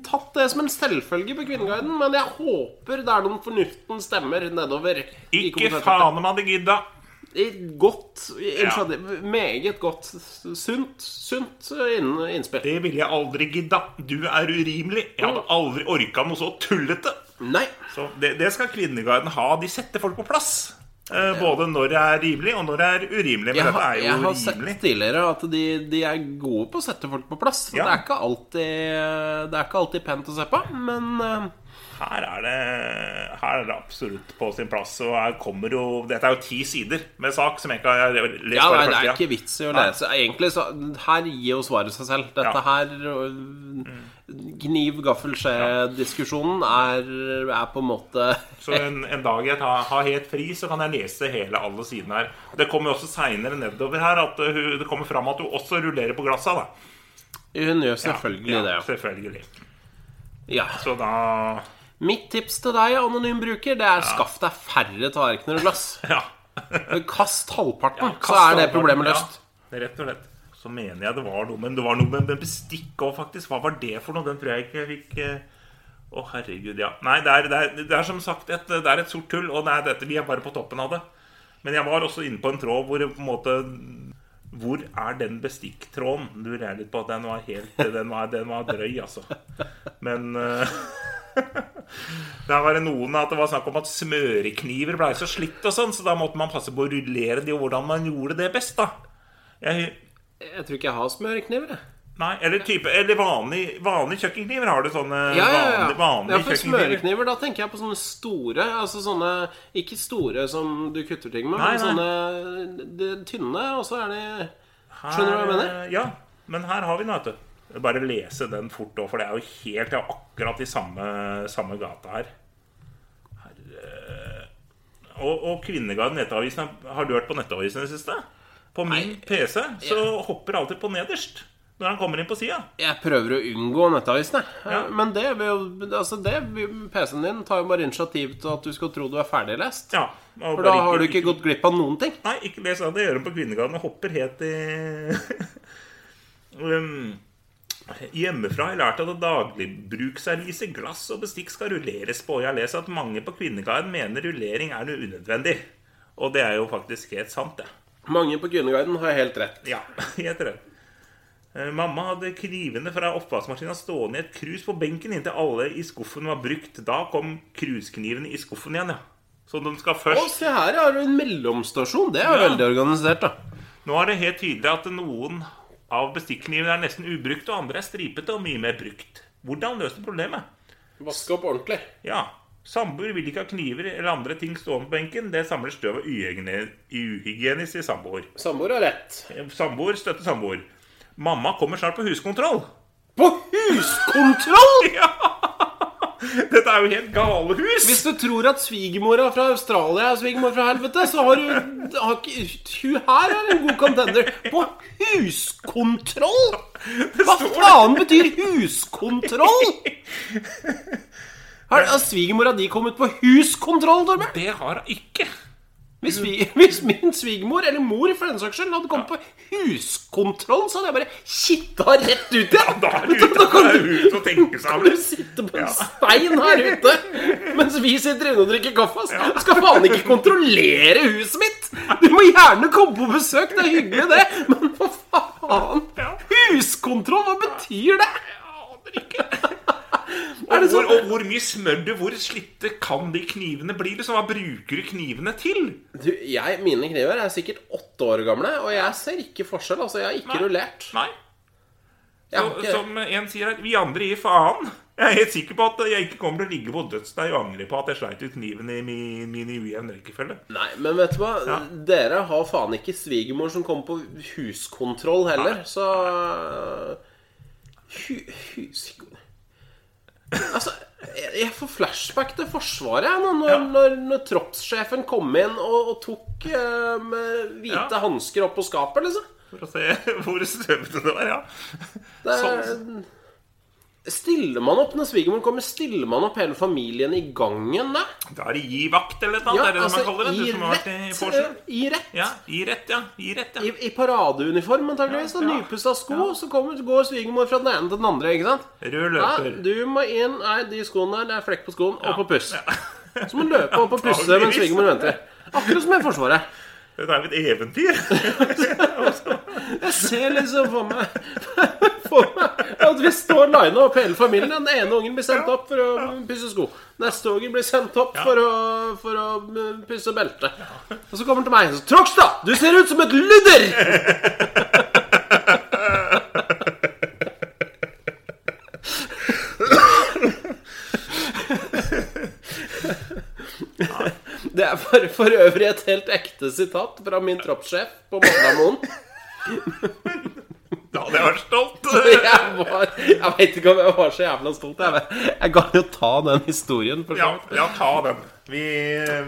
A: tatt det som en selvfølge på Kvinneguiden, men jeg håper det er noen fornuftens stemmer nedover. i
B: Ikke
A: kommentarfeltet.
B: faen om hadde gidda.
A: I Godt Unnskyld. Meget godt. Sunt, sunt inn- innspill.
B: Det ville jeg aldri gidda. Du er urimelig. Jeg hadde
A: Mm.
B: aldri orka noe så tullete.
A: Nei.
B: Så det, det skal Kvinneguiden ha. De setter folk på plass. Eh, både når det er rimelig, og når det er urimelig. Men
A: Jeg
B: dette
A: har,
B: er
A: jeg
B: jo
A: har sett
B: rimelig.
A: tidligere at de, de er gode på å sette folk på plass.
B: Ja.
A: Det, er ikke alltid, det er ikke alltid pent å se på, men eh,
B: Her er, det, her er det absolutt på sin plass. Og her kommer jo Dette er jo ti sider med sak som jeg ikke har lest.
A: Ja,
B: bare
A: nei, det er
B: første, ja.
A: ikke vits i å lese. Egentlig så Her gir jo svaret seg selv. Dette
B: Ja.
A: her øh, Kniv, gaffel, skje-diskusjonen er, er på en måte
B: Så en, en dag jeg tar, har helt fri, så kan jeg lese hele alle sidene her. Det kommer jo også seinere nedover her at uh, hun- det kommer fram at hun også rullerer på glassa. da
A: Hun gjør selvfølgelig
B: ja,
A: det.
B: Selvfølgelig.
A: Ja.
B: Så da
A: Mitt tips til deg, anonym bruker, det er skaff deg færre tallerkener og glass.
B: Ja.
A: Kast halvparten, så
B: Kast
A: er det
B: halvparten,
A: problemet løst.
B: Ja, rett og slett. Så mener jeg det var noe Men det var noe med med bestikk òg, faktisk. Hva var det for noe? Den tror jeg ikke jeg fikk eh, Å, herregud, ja. Nei, det er, det er, det er som sagt et, det er et sort hull, og det er dette, vi er bare på toppen av det. Men jeg var også inne på en tråd hvor det på en måte Hvor er den bestikktråden? Du lurer litt på at den var helt Den var, den var drøy, altså. Men eh, Der var det noen at det var snakk om at smørekniver blei så slitt og sånn, så da måtte man passe på å rullere de og hvordan man gjorde det best, da. Jeg,
A: Jeg tror ikke jeg har smørekniver, jeg.
B: nei, eller type Eller vanlig, vanlige kjøkkenkniver. Har du sånne
A: Ja, ja, ja.
B: vanlige, vanlige
A: ja, for
B: kjøkkenkniver?
A: smørekniver, da tenker jeg på sånne store Altså sånne Ikke store som du kutter ting med,
B: Nei,
A: men sånne de, tynne, og så er de Skjønner du hva jeg
B: Her,
A: mener?
B: eh, Ja. Men her har vi den, vet du. Bare lese den fort òg, for det er jo helt det er akkurat i samme, samme gata her. Herre- Og, og Kvinneguiden Nettavisen Har du hørt på Nettavisen i det siste? På min PC så hopper alltid på nederst når han kommer inn på sida.
A: Jeg prøver å unngå nettavisen, jeg.
B: Ja.
A: Men det vil jo Altså, det vil- PC-en din tar jo bare initiativ til at du skal tro du er ferdiglest.
B: Ja, og
A: For
B: bare
A: da har du ikke gått glipp av noen ting.
B: Nei, ikke les av det. Gjør dem på Kvinnegarden og hopper helt i um, Hjemmefra har jeg lært at dagligbrukserviser, glass og bestikk skal rulleres på. Jeg leser at mange på Kvinnegarden mener rullering er noe unødvendig. Og det er jo faktisk helt sant, det.
A: Mange på Kvinneguiden har helt rett.
B: Ja, jeg tror det. Eh, Mamma hadde knivene fra oppvaskmaskinen stående i et krus på benken inntil alle i skuffen var brukt. Da kom krusknivene i skuffen igjen, ja. Så de skal
A: Å,
B: først
A: se her har du en mellomstasjon. Det er jo
B: Ja.
A: veldig organisert, da.
B: Nå er det helt tydelig at noen av bestikknivene er nesten ubrukt, og andre er stripete og mye mer brukt. Hvordan løser problemet?
A: Vaske opp ordentlig.
B: Ja, samboer vil ikke ha kniver eller andre ting stående på benken. Det samler støv og uhygiene- uhygienisk i samboer. Eh,
A: Samboer har rett.
B: Samboer støtter samboer. Mamma kommer snart på huskontroll.
A: På huskontroll!
B: Ja! Dette er jo helt gale hus!
A: Hvis du tror at svigermora fra Australia er svigermor fra helvete, så har du har ikke- Hun her er en god contender. På huskontroll! Hva faen betyr huskontroll? Har har svigermora di kommet på huskontroll, Torbjørn?
B: Det har hun ikke.
A: Hvis, vi, hvis min svigermor, eller mor for den saks skyld, hadde kommet på huskontroll, så hadde jeg bare kitta rett ut igjen.
B: Da er det ute,
A: Da
B: da
A: kan
B: er det ute å tenke seg om.
A: du sitte på en
B: Ja.
A: stein her ute mens vi sitter inne og drikker kaffe. ass. Du skal faen ikke kontrollere huset mitt! Du må gjerne komme på besøk, det er hyggelig, det, men hva faen? Huskontroll, hva betyr det? Er
B: Og
A: det
B: hvor,
A: sånn?
B: og hvor mye smør du, hvor slitte kan de knivene bli? Liksom, hva bruker du knivene til?
A: Du, jeg, mine kniver er sikkert åtte år gamle, og jeg ser ikke forskjell. Altså, jeg har ikke rullert.
B: Nei.
A: Jeg
B: Og,
A: har ikke,
B: som en sier her, vi andre gir faen. Jeg er helt sikker på at jeg ikke kommer til å ligge på dødsdeg og angre på at jeg sleit ut kniven i min, min i ujevn rekkefølge.
A: Nei, men vet du hva?
B: Ja.
A: Dere har faen ikke svigermor som kommer på huskontroll heller, så hu, Huskontroll Altså, jeg, jeg får flashback til Forsvaret jeg, nå, når, når, når troppssjefen kom inn og, og tok eh, med hvite
B: Ja.
A: hansker opp på skapet, liksom.
B: For å se hvor støvete det var, ja.
A: Det er,
B: Sånn.
A: Stiller man opp når svigermor kommer? Stiller man opp hele familien i gangen da? altså,
B: Da er det gi vakt eller noe, er det det man kaller det? Du som har vært i
A: eh,
B: Forsen?
A: I rett.
B: Ja, gi rett, ja. Gi rett,
A: I,
B: ja.
A: I paradeuniform, antakeligvis.
B: Ja,
A: Ja,
B: ja.
A: Nypussa sko. Så kommer, går svigermor fra den ene til den andre. ikke sant?
B: Rød
A: Nei,
B: løper.
A: du må inn Nei, de skoene der, det er flekk på skoen. Opp og puss.
B: Ja.
A: Så må du løpe opp og pusse mens
B: Antageligvis.
A: svigermor venter. Akkurat som i Forsvaret.
B: Det er jo et eventyr.
A: Jeg ser liksom for meg, for meg at vi står lina opp hele familien. Den ene ungen blir sendt opp for å pusse sko. Neste ungen blir sendt opp for, å, for å mm, pusse belte. Og så kommer han til meg og sier 'Trogstad, du ser ut som et ludder!' Det er for, for øvrig et helt ekte sitat fra min troppssjef på Magdamoen.
B: Da hadde jeg vært stolt.
A: Jeg, var, jeg vet ikke om jeg var så jævla stolt. Jeg, jeg kan jo ta den historien. For så
B: Ja,
A: vidt.
B: ja ta den. Vi,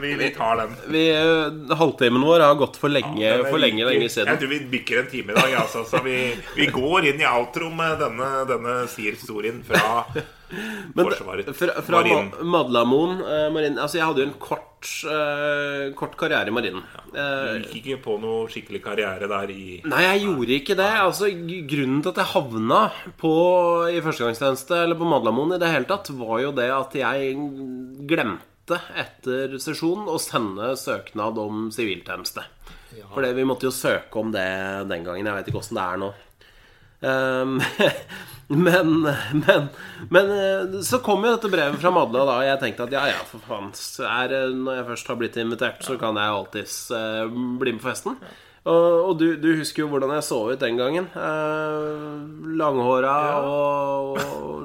B: vi, vi tar den.
A: Vi, eh, halvtimen vår har gått for lenge,
B: Den er
A: for lenge,
B: like-
A: lenge
B: Jeg
A: siden.
B: tror vi bikker en time i dag. Altså, så vi, vi går inn i outro med denne, denne sier-historien fra Forsvaret.
A: Fra, fra
B: Marinen.
A: Ma- Madlamoen eh, marinen. Altså, jeg hadde jo en kort, eh, kort karriere i marinen. Eh,
B: Gikk ikke på noe skikkelig karriere der i
A: Nei, jeg gjorde ikke det. Altså, gr- Grunnen til at jeg havna på, i førstegangstjeneste eller på Madlamoen i det hele tatt, var jo det at jeg glemte etter sesjon å sende søknad om siviltjeneste. For det- vi måtte jo søke om det den gangen. Jeg veit ikke åssen det er nå. Um, men, men, men eh, så kom jo dette brevet fra Madla, da. Og jeg tenkte at ja, ja, for faen. så Er, det- når jeg først har blitt invitert, så kan jeg alltids eh, bli med på festen. Og, og du, du husker jo hvordan jeg så ut den gangen. Uh, langhåra og, og,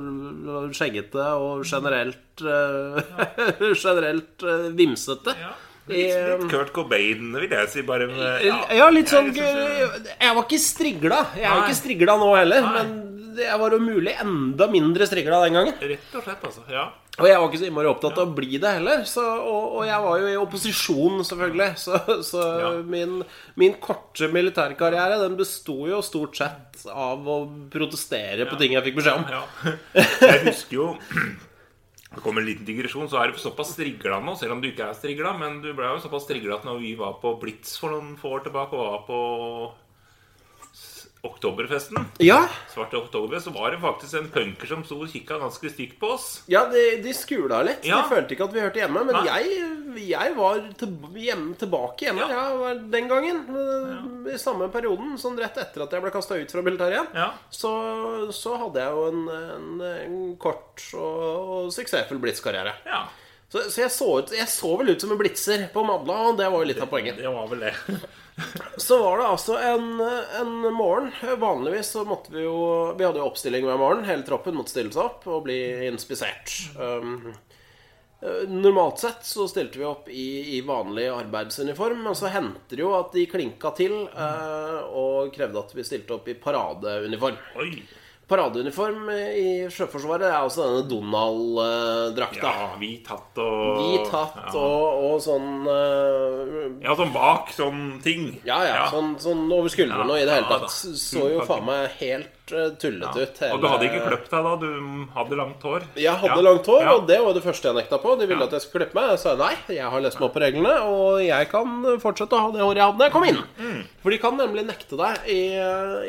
A: og skjeggete og generelt eh, Generelt eh, vimsete. I-
B: Litt Kurt Cobain, vil jeg si. Bare med,
A: Eh, ja, litt sånn
B: jeg synes
A: Jeg, var ikke strigla. Jeg er
B: Nei.
A: jo ikke strigla nå heller, men jeg var om mulig enda mindre strigla den gangen.
B: det- Rett og slett, altså. Ja.
A: Og jeg var ikke så innmari opptatt av å bli det heller. Så, og, og jeg var jo i opposisjon, selvfølgelig. Så, så
B: Ja.
A: min, min korte militærkarriere Den besto jo stort sett av å protestere på ting jeg fikk beskjed om.
B: Ja. Jeg husker jo Det kommer en liten digresjon, så er du såpass strigla nå, selv om du ikke er strigla, men du ble jo såpass strigla at når vi var på Blitz for noen få år tilbake, og var på s- Oktoberfesten,
A: Ja,
B: Svarte oktober, så var det faktisk en punker som sto og kikka ganske stygt på oss.
A: ja de, de skula litt.
B: Ja.
A: De følte ikke at vi hørte hjemme. Men
B: Nei.
A: jeg, jeg var til, hjemme, tilbake hjemme
B: Ja.
A: ja. var den gangen. eh, I samme perioden, sånn rett etter at jeg ble kasta ut fra militæret igjen.
B: Ja.
A: Så, så hadde jeg jo en, en, en kort og, og suksessfull blitzkarriere.
B: Ja,
A: Så, så jeg, så ut, jeg så vel ut som en blitzer på Madla, og det var jo litt av poenget.
B: det var vel det.
A: Så var det altså en, en morgen Vanligvis så måtte vi jo Vi hadde jo oppstilling hver morgen. Hele troppen måtte stille seg opp og bli inspisert. Um, eh, normalt sett så stilte vi opp i, i vanlig arbeidsuniform, men så hendte det jo at de klinka til eh, og krevde at vi stilte opp i paradeuniform.
B: Oi.
A: Paradeuniform i Sjøforsvaret er altså denne Donald-drakta.
B: Ja, vi tatt og
A: Hvit hatt
B: ja.
A: og, og sånn eh,
B: Ja, sånn bak sånn ting.
A: Ja, ja, Sånn, sånn over skuldrene
B: Ja,
A: og i det hele
B: ja da. Mm,
A: tatt. Så jo faen meg helt eh, tullete ut.
B: Og du hadde ikke kløpt deg da? Du hadde langt hår?
A: Jeg hadde
B: Ja.
A: langt hår,
B: Ja.
A: og det var det første jeg nekta på. De ville
B: Ja.
A: at jeg skulle klippe meg. Jeg sa nei, jeg har lest meg opp på reglene, og jeg kan fortsette å ha det håret jeg hadde da jeg kom inn.
B: Mm.
A: For de kan nemlig nekte deg i,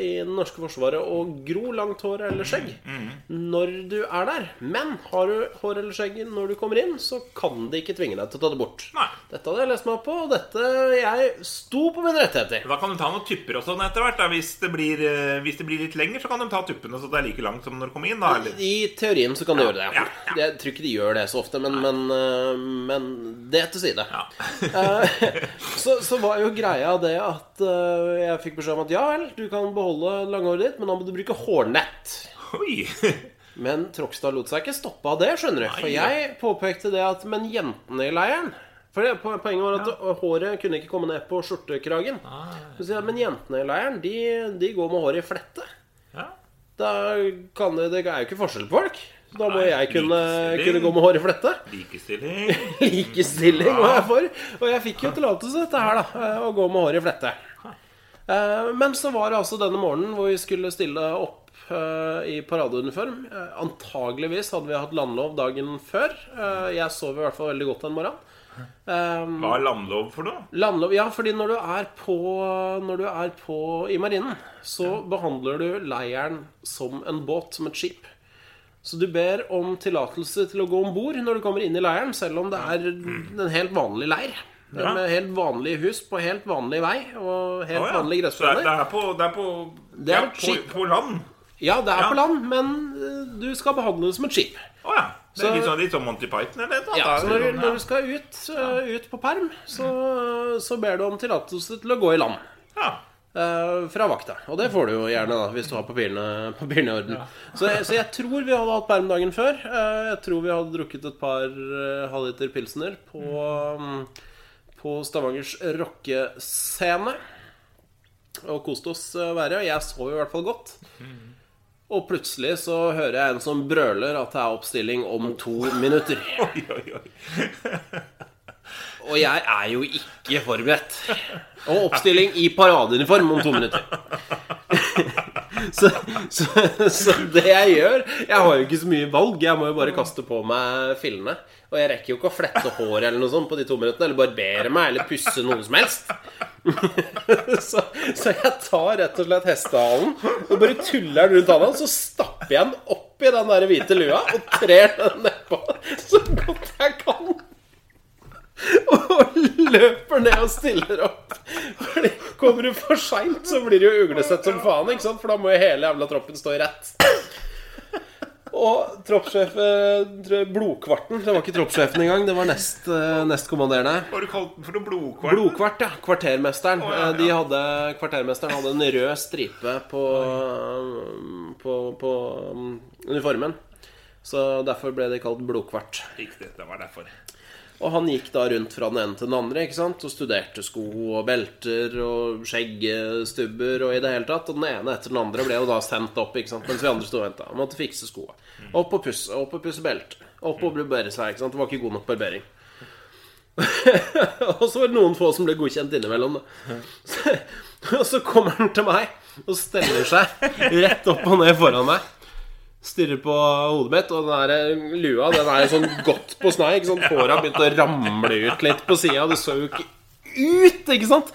A: i det norske forsvaret å gro langt hår eller skjegg
B: Mm.
A: når du er der. Men har du hår eller skjegg når du kommer inn, så kan de ikke tvinge deg til å ta det bort.
B: Nei.
A: Dette hadde jeg lest meg opp på, og dette Jeg sto på mine rettigheter.
B: Da kan de ta noen tupper og sånn etter hvert. Da. Hvis, det blir, eh, hvis det blir litt lenger, så kan de ta tuppene så det er like langt som når de kom inn. Da, eller?
A: I teorien så kan de gjøre det.
B: ja,
A: Jeg tror ikke de gjør det så ofte, men, men, øh, men det til side.
B: Ja.
A: Eh, så, så var jo greia det at eh, jeg fikk beskjed om at ja vel, du kan beholde langhåret ditt, men da må du bruke hårnett.
B: Oi!
A: Men Trogstad lot seg ikke stoppe av det, skjønner du. For
B: Nei.
A: jeg påpekte det at Men jentene i leiren For det, po- poenget var at håret kunne ikke komme ned på skjortekragen.
B: Ah.
A: Så sier jeg, men jentene i leiren, de, de går med håret i flette.
B: Ja.
A: Da kan det, det er jo ikke forskjell på folk. Så Da må
B: Nei,
A: jeg kunne,
B: likestilling.
A: kunne gå med håret i flette
B: Likestilling.
A: likestilling var jeg for. Og jeg fikk jo tillatelse til dette her, da. Å gå med håret i flette. Eh, Men så var det altså denne morgenen hvor vi skulle stille opp eh, i paradeuniform. Eh, Antageligvis hadde vi hatt landlov dagen før. Eh, Jeg sov i hvert fall veldig godt den morgenen. Eh,
B: Hva er landlov for noe?
A: Landlov Ja, fordi når du er på, når du er på i marinen, så behandler du leiren som en båt, som et skip. Så du ber om tillatelse til å gå om bord når du kommer inn i leiren, selv om det er en helt vanlig leir.
B: Ja.
A: Med helt vanlige hus på helt vanlig vei og helt
B: Å, ja.
A: vanlige
B: Så det er, det
A: gressplaner.
B: er på, det er på,
A: Det er
B: ja,
A: et
B: på,
A: skip.
B: på land?
A: Ja, det er
B: Ja.
A: på land, men eh, du skal behandle det som et skip.
B: Å ja. Det er
A: Så-
B: litt sånn, litt sånn Monty Python eller noe?
A: Ja,
B: Da er
A: så
B: det
A: når du,
B: sånn,
A: når du skal ut, eh, ut på perm, så, så ber du om tillatelse til å gå i land.
B: ja.
A: Eh, fra vakta. Og det får du jo gjerne da hvis du har papirene, papirene i orden. Så, jeg, så jeg tror vi hadde hatt perm dagen før. Eh, jeg tror vi hadde drukket et par eh, halvliter pilsner på, mm, på Stavangers rockescene. Og koste oss eh, verre. Og jeg sov i hvert fall godt. Og plutselig så hører jeg en som brøler at det er oppstilling om to minutter.
B: ja. Oi, oi, oi.
A: Og jeg er jo ikke forberedt. Og oppstilling i paradeuniform om to minutter. Så, så, så det jeg gjør Jeg har jo ikke så mye valg. Jeg må jo bare kaste på meg fillene. Og jeg rekker jo ikke å flette håret eller noe sånt på de to minuttene. Eller barbere meg eller pusse noe som helst. Så, så jeg tar rett og slett hestehalen og bare tuller den rundt handa. Så stapper jeg den oppi den der hvite lua og trer den nedpå så godt jeg kan og løper ned og stiller opp. Fordi Kommer du for seint, så blir du jo uglesett som faen, ikke sant? for da må jo hele jævla troppen stå i rett. Og troppssjef eh, tror jeg, Blodkvarten Det var ikke troppssjefen engang, det var nest, eh, nestkommanderende.
B: Har du kalt den for noe blodkvalm?
A: Blodkvart, ja. Kvartermesteren.
B: Å, ja,
A: Eh, De
B: ja.
A: hadde, kvartermesteren hadde en rød stripe på, på, på um, uniformen. Så derfor ble de kalt Blodkvart.
B: Riktig, det var derfor.
A: Og han gikk da rundt fra den ene til den andre ikke sant? og studerte sko og belter og skjeggstubber og i det hele tatt. Og den ene etter den andre ble jo da sendt opp ikke sant? mens vi andre sto og venta. Måtte fikse skoa. Opp og pusse, opp og pusse belte. Opp og barbere seg. ikke sant? Det var ikke god nok barbering. og så var det noen få som ble godkjent innimellom, da. Så, og så kommer han til meg og steller seg rett opp og ned foran meg stirrer på hodet mitt, og den der lua den er jo sånn godt på snei. ikke sant? Håret har begynt å ramle ut litt på sida. Det så jo ikke ut, ikke sant?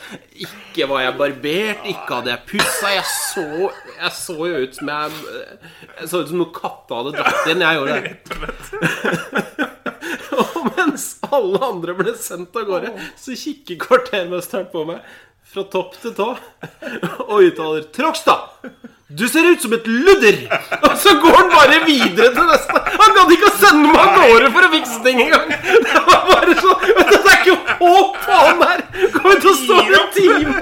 A: Ikke var jeg barbert, ikke hadde jeg pussa. Jeg så, jeg så jo ut som jeg eh, Jeg så ut som noen katta hadde dratt inn. Jeg gjorde det. Og mens alle andre ble sendt av gårde, så kikker kvartermesteren på meg fra topp til tå og uttaler 'Trogstad, du ser ut som et ludder!' Og så går han bare videre til neste. Han gadd ikke å sende meg av gårde for å fikse ting engang! Det var bare sånn Det er ikke håp på han her! Kommer til å stå en time!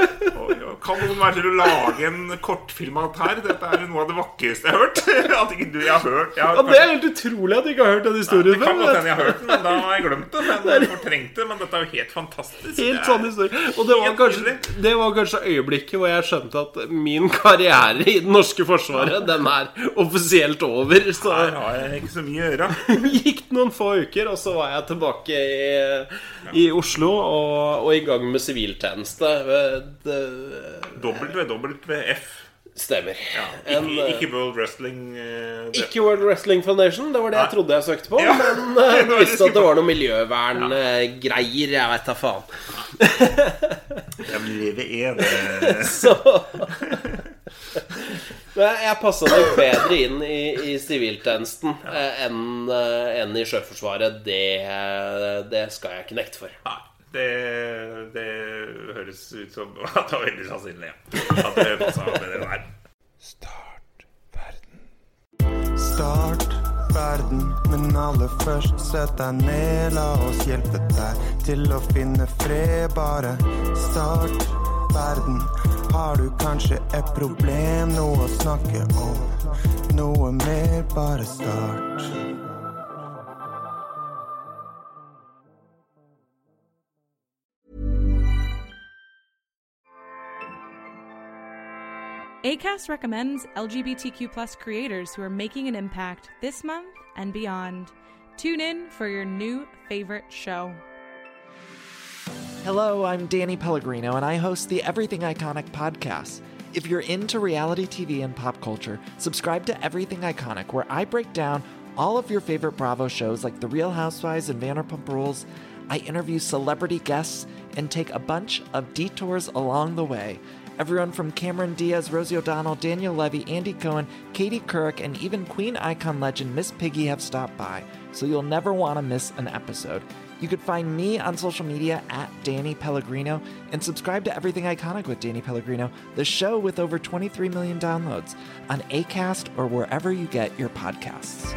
B: Oi, oi. Kan noen være så skulle lage en kortfilm av dette her. Dette er jo noe av det vakreste jeg har hørt. At ikke du jeg har hørt jeg har
A: Ja, Det er helt utrolig at du ikke har hørt den
B: Det
A: historien
B: kan godt hende
A: før.
B: jeg har hørt den, men da har jeg glemt det. Men jeg fortrengte det, men dette er jo helt fantastisk.
A: Helt sånn historie. Og det var,
B: Helt
A: kanskje,
B: nydelig.
A: det var kanskje øyeblikket hvor jeg skjønte at min karriere i det norske forsvaret, den er offisielt over. Så
B: Her har jeg ikke så mye å gjøre.
A: gikk det noen få uker, og så var jeg tilbake i, i Oslo og, og i gang med siviltjeneste. Det
B: WWF.
A: stemmer.
B: Ja,
A: En,
B: ikke,
A: eh,
B: ikke World Wrestling eh, det-
A: Ikke World Wrestling Foundation, det var det jeg
B: Nei.
A: trodde jeg søkte på.
B: Ja.
A: Men eh,
B: Det var
A: jeg
B: det
A: visste
B: jeg
A: at det var noe miljøverngreier. Jeg veit da faen.
B: Jeg vil leve i eh, det.
A: Så Men jeg passa nok bedre inn i, i siviltjenesten eh, enn eh, enn i Sjøforsvaret. Det, det skal jeg ikke nekte for.
B: Nei, det, det høres ut som at det var veldig sannsynlig, ja. At det passa bedre der.
D: Start verden, men aller først sett deg ned. La oss hjelpe deg til å finne fred, bare start verden. Har du kanskje et problem, noe å snakke om? Noe mer, bare start.
G: ACAST recommends LGBTQ plus creators who are making an impact this month and beyond. Tune in for your new favorite show.
H: Hello, I'm Danny Pellegrino, and I host the Everything Iconic podcast. If you're into reality TV and pop culture, subscribe to Everything Iconic, where I break down all of your favorite Bravo shows like The Real Housewives and Vanderpump Rules. I interview celebrity guests and take a bunch of detours along the way. Everyone from Cameron Diaz, Rosie O'Donnell, Daniel Levy, Andy Cohen, Katie Couric, and even Queen icon legend Miss Piggy have stopped by, so you'll never want to miss an episode. You could find me on social media at Danny Pellegrino and subscribe to Everything Iconic with Danny Pellegrino, the show with over 23 million downloads on ACAST or wherever you get your podcasts.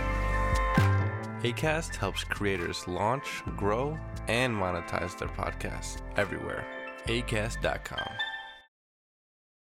I: ACAST helps creators launch, grow, and monetize their podcasts everywhere. ACAST.com.